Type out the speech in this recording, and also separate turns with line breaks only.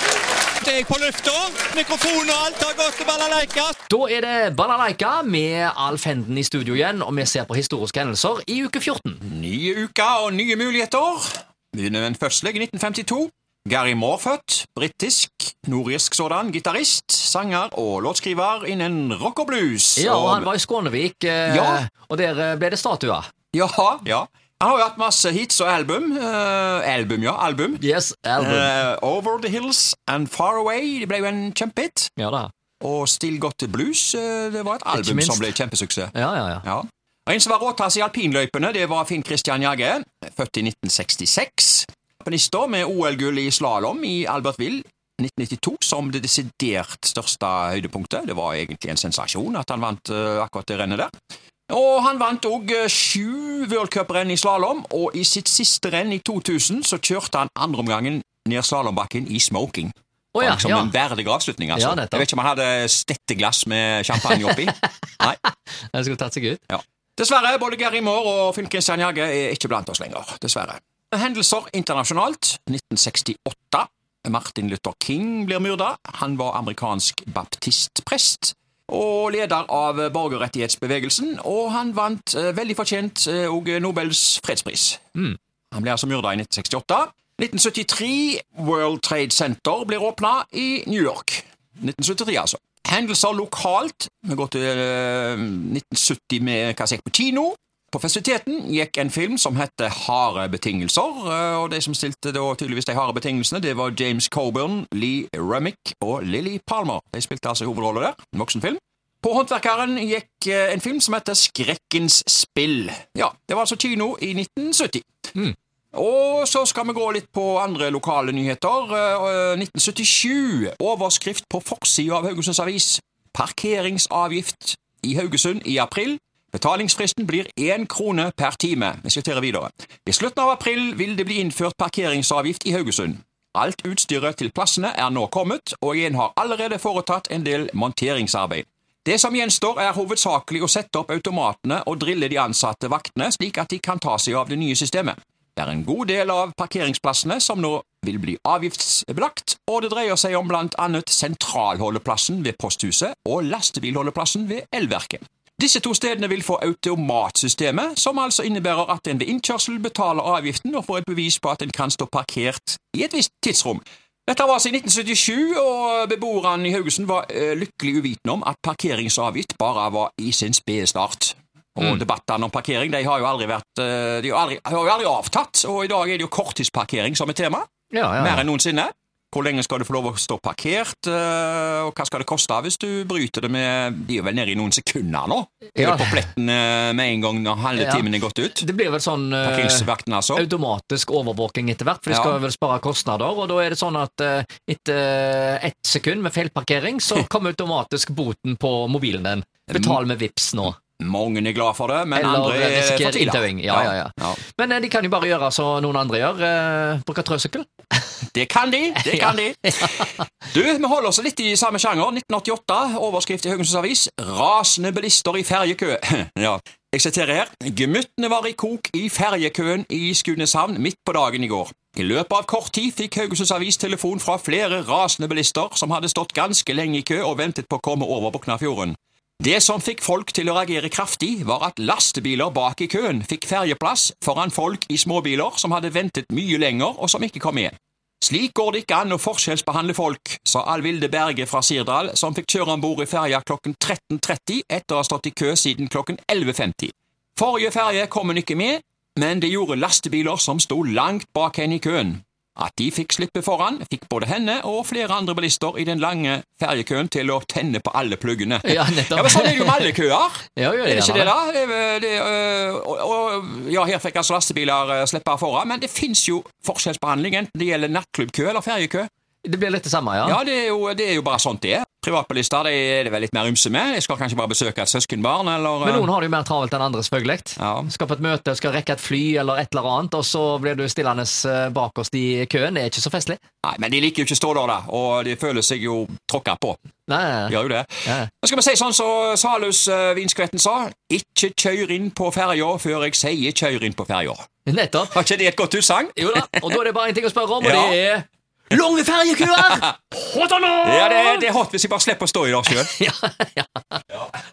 Snart er jeg på lufta. Mikrofon og alt har gått til balalaika.
Da er det Balalaika med Alf Henden i studio igjen, og vi ser på historiske hendelser i uke 14.
Nye uker og nye muligheter. Begynner med den første i 1952. Gary Moore født, britisk, nordirsk sådan, gitarist, sanger og låtskriver innen rock og blues.
Ja, og
Og-
Han var i Skånevik, eh,
Ja.
og der eh, ble det statue.
ja, ja. Han har jo hatt masse hits og album. Eh, album, ja. Album.
Yes, album.
Eh, Over the Hills and Far Away det ble jo en kjempehit.
Ja da.
Og Still Got the Blues eh, det var et album
minst.
som ble kjempesuksess.
Ja, ja, ja.
Ja. Og En som var råtass i alpinløypene, det var Finn Christian Jagge, født i 1966. Alpinister med OL-gull i slalåm i Albertville 1992 som det desidert største høydepunktet. Det var egentlig en sensasjon at han vant eh, akkurat det rennet der. Og han vant òg eh, sju worldcuprenn i slalåm, og i sitt siste renn i 2000 så kjørte han andreomgangen ned slalåmbakken i smoking.
Å ja,
Det var liksom
ja.
en verdig avslutning, altså.
Ja, nettopp.
Jeg vet ikke om han hadde stetteglass med champagne oppi. Nei.
Den skulle tatt seg ut.
Ja. Dessverre, både Gary Moore og Finn Kristian Jagge er ikke blant oss lenger. Dessverre. Hendelser internasjonalt. 1968. Martin Luther King blir myrda. Han var amerikansk baptistprest. Og leder av borgerrettighetsbevegelsen, og han vant eh, veldig fortjent eh, og Nobels fredspris.
Mm.
Han ble altså myrda i 1968. 1973 World Trade Center blir åpna i New York. 1973, altså. Hendelser lokalt. Vi går til eh, 1970 med hva jeg på kino. På festiviteten gikk en film som heter Harde betingelser. eh, og De som stilte da tydeligvis de harde betingelsene, det var James Coburn, Lee Remick og Lily Palmer. De spilte altså hovedroller der. En voksenfilm. På Håndverkeren gikk eh, en film som heter Skrekkens spill. Ja, Det var altså kino i 1970. Og så skal vi gå litt på andre lokale nyheter. Eh, 1977. Overskrift på forsida av Haugesunds Avis. Parkeringsavgift i Haugesund i april. Betalingsfristen blir én krone per time. Vi siterer videre. I slutten av april vil det bli innført parkeringsavgift i Haugesund. Alt utstyret til plassene er nå kommet, og en har allerede foretatt en del monteringsarbeid. Det som gjenstår, er hovedsakelig å sette opp automatene og drille de ansatte vaktene, slik at de kan ta seg av det nye systemet. Det er en god del av parkeringsplassene som nå vil bli avgiftsbelagt, og det dreier seg om blant annet sentralholdeplassen ved posthuset og lastebilholdeplassen ved elverket. Disse to stedene vil få automatsystemet, som altså innebærer at en ved innkjørsel betaler avgiften og får et bevis på at en kan stå parkert i et visst tidsrom. Dette var altså i 1977, og beboerne i Haugesund var eh, lykkelig uvitende om at parkeringsavgift bare var i sin spede start. Og
Mm.
debattene om parkering de har jo aldri vært eh, De har, aldri, har jo aldri avtatt, og i dag er det jo korttidsparkering som er tema.
Ja, ja,
Mer
ja.
enn noensinne. Hvor lenge skal du få lov å stå parkert, eh, og hva skal det koste hvis du bryter det med De er vel nede i noen sekunder nå? Er
Ja.
det på pletten eh, med en gang når halve
Ja.
timen er gått ut?
Det blir vel sånn eh,
Parkeringsvakten, altså.
automatisk overvåking etter hvert, for de skal
Ja.
vel spare kostnader. Og da er det sånn at eh, etter eh, ett sekund med feilparkering, så kommer automatisk boten på mobilen din. Betal med VIPS nå.
Mange er glad for det, men
Eller
andre er
risikerer
for tidlig.
inntauing. Ja, ja, ja. Men eh, de kan jo bare gjøre som noen andre gjør. eh, Bruke trøsykkel.
Det kan de! Det kan de. Du, Vi holder oss litt i samme sjanger. 1988, overskrift i Haugesunds Avis. 'Rasende bilister i ferjekø'. ja. Jeg siterer her. 'Gemyttene var i kok i ferjekøen i Skudeneshavn midt på dagen i går'. I løpet av kort tid fikk Haugesunds Avis telefon fra flere rasende bilister som hadde stått ganske lenge i kø og ventet på å komme over Boknafjorden. Det som fikk folk til å reagere kraftig, var at lastebiler bak i køen fikk ferjeplass foran folk i småbiler som hadde ventet mye lenger og som ikke kom med. Slik går det ikke an å forskjellsbehandle folk, sa Alvilde Berge fra Sirdal, som fikk kjøre om bord i ferja klokken 13.30 etter å ha stått i kø siden klokken 11.50. Forrige ferje kom hun ikke med, men det gjorde lastebiler som sto langt bak henne i køen. At de fikk slippe foran, fikk både henne og flere andre bilister i den lange ferjekøen til å tenne på alle pluggene.
Ja, nettopp.
Ja, men sånn er det jo med alle køer.
Ja, gjør
Er det ikke det,
gjerne
da? Det, er- det, er, øh, og, og, ja, her fikk altså lastebiler øh, slippe foran, men det fins jo forskjellsbehandling, enten det gjelder nattklubbkø eller ferjekø.
Det blir litt det samme, ja.
Ja, det er jo, det er jo bare sånt det er. Privatbilister de er det vel litt mer ymse med. De skal kanskje bare besøke et søskenbarn, eller øh,
Men noen har det jo mer travelt enn andre, selvfølgelig.
Ja.
Skal på et møte, skal rekke et fly eller et eller annet, og så blir du stillende eh, bakerst i køen. Det er ikke så festlig.
Nei, men de liker jo ikke å stå der, da, og de føler seg jo tråkka på.
Nei, nei,
De
nei.
Gjør jo det.
Ja.
Nå skal vi si sånn som så Salus øh, Vinskvetten sa, ikke kjør inn på ferja før jeg sier kjør inn på ferja.
Nettopp.
Var ikke det et godt utsagn?
Jo da, og da er det bare en ting å spørre om, og
Ja.
det er Lange ferjekøer! hot or not!
Ja, det, er- det er hot hvis jeg bare slipper å stå i det sjøl.
ja, ja.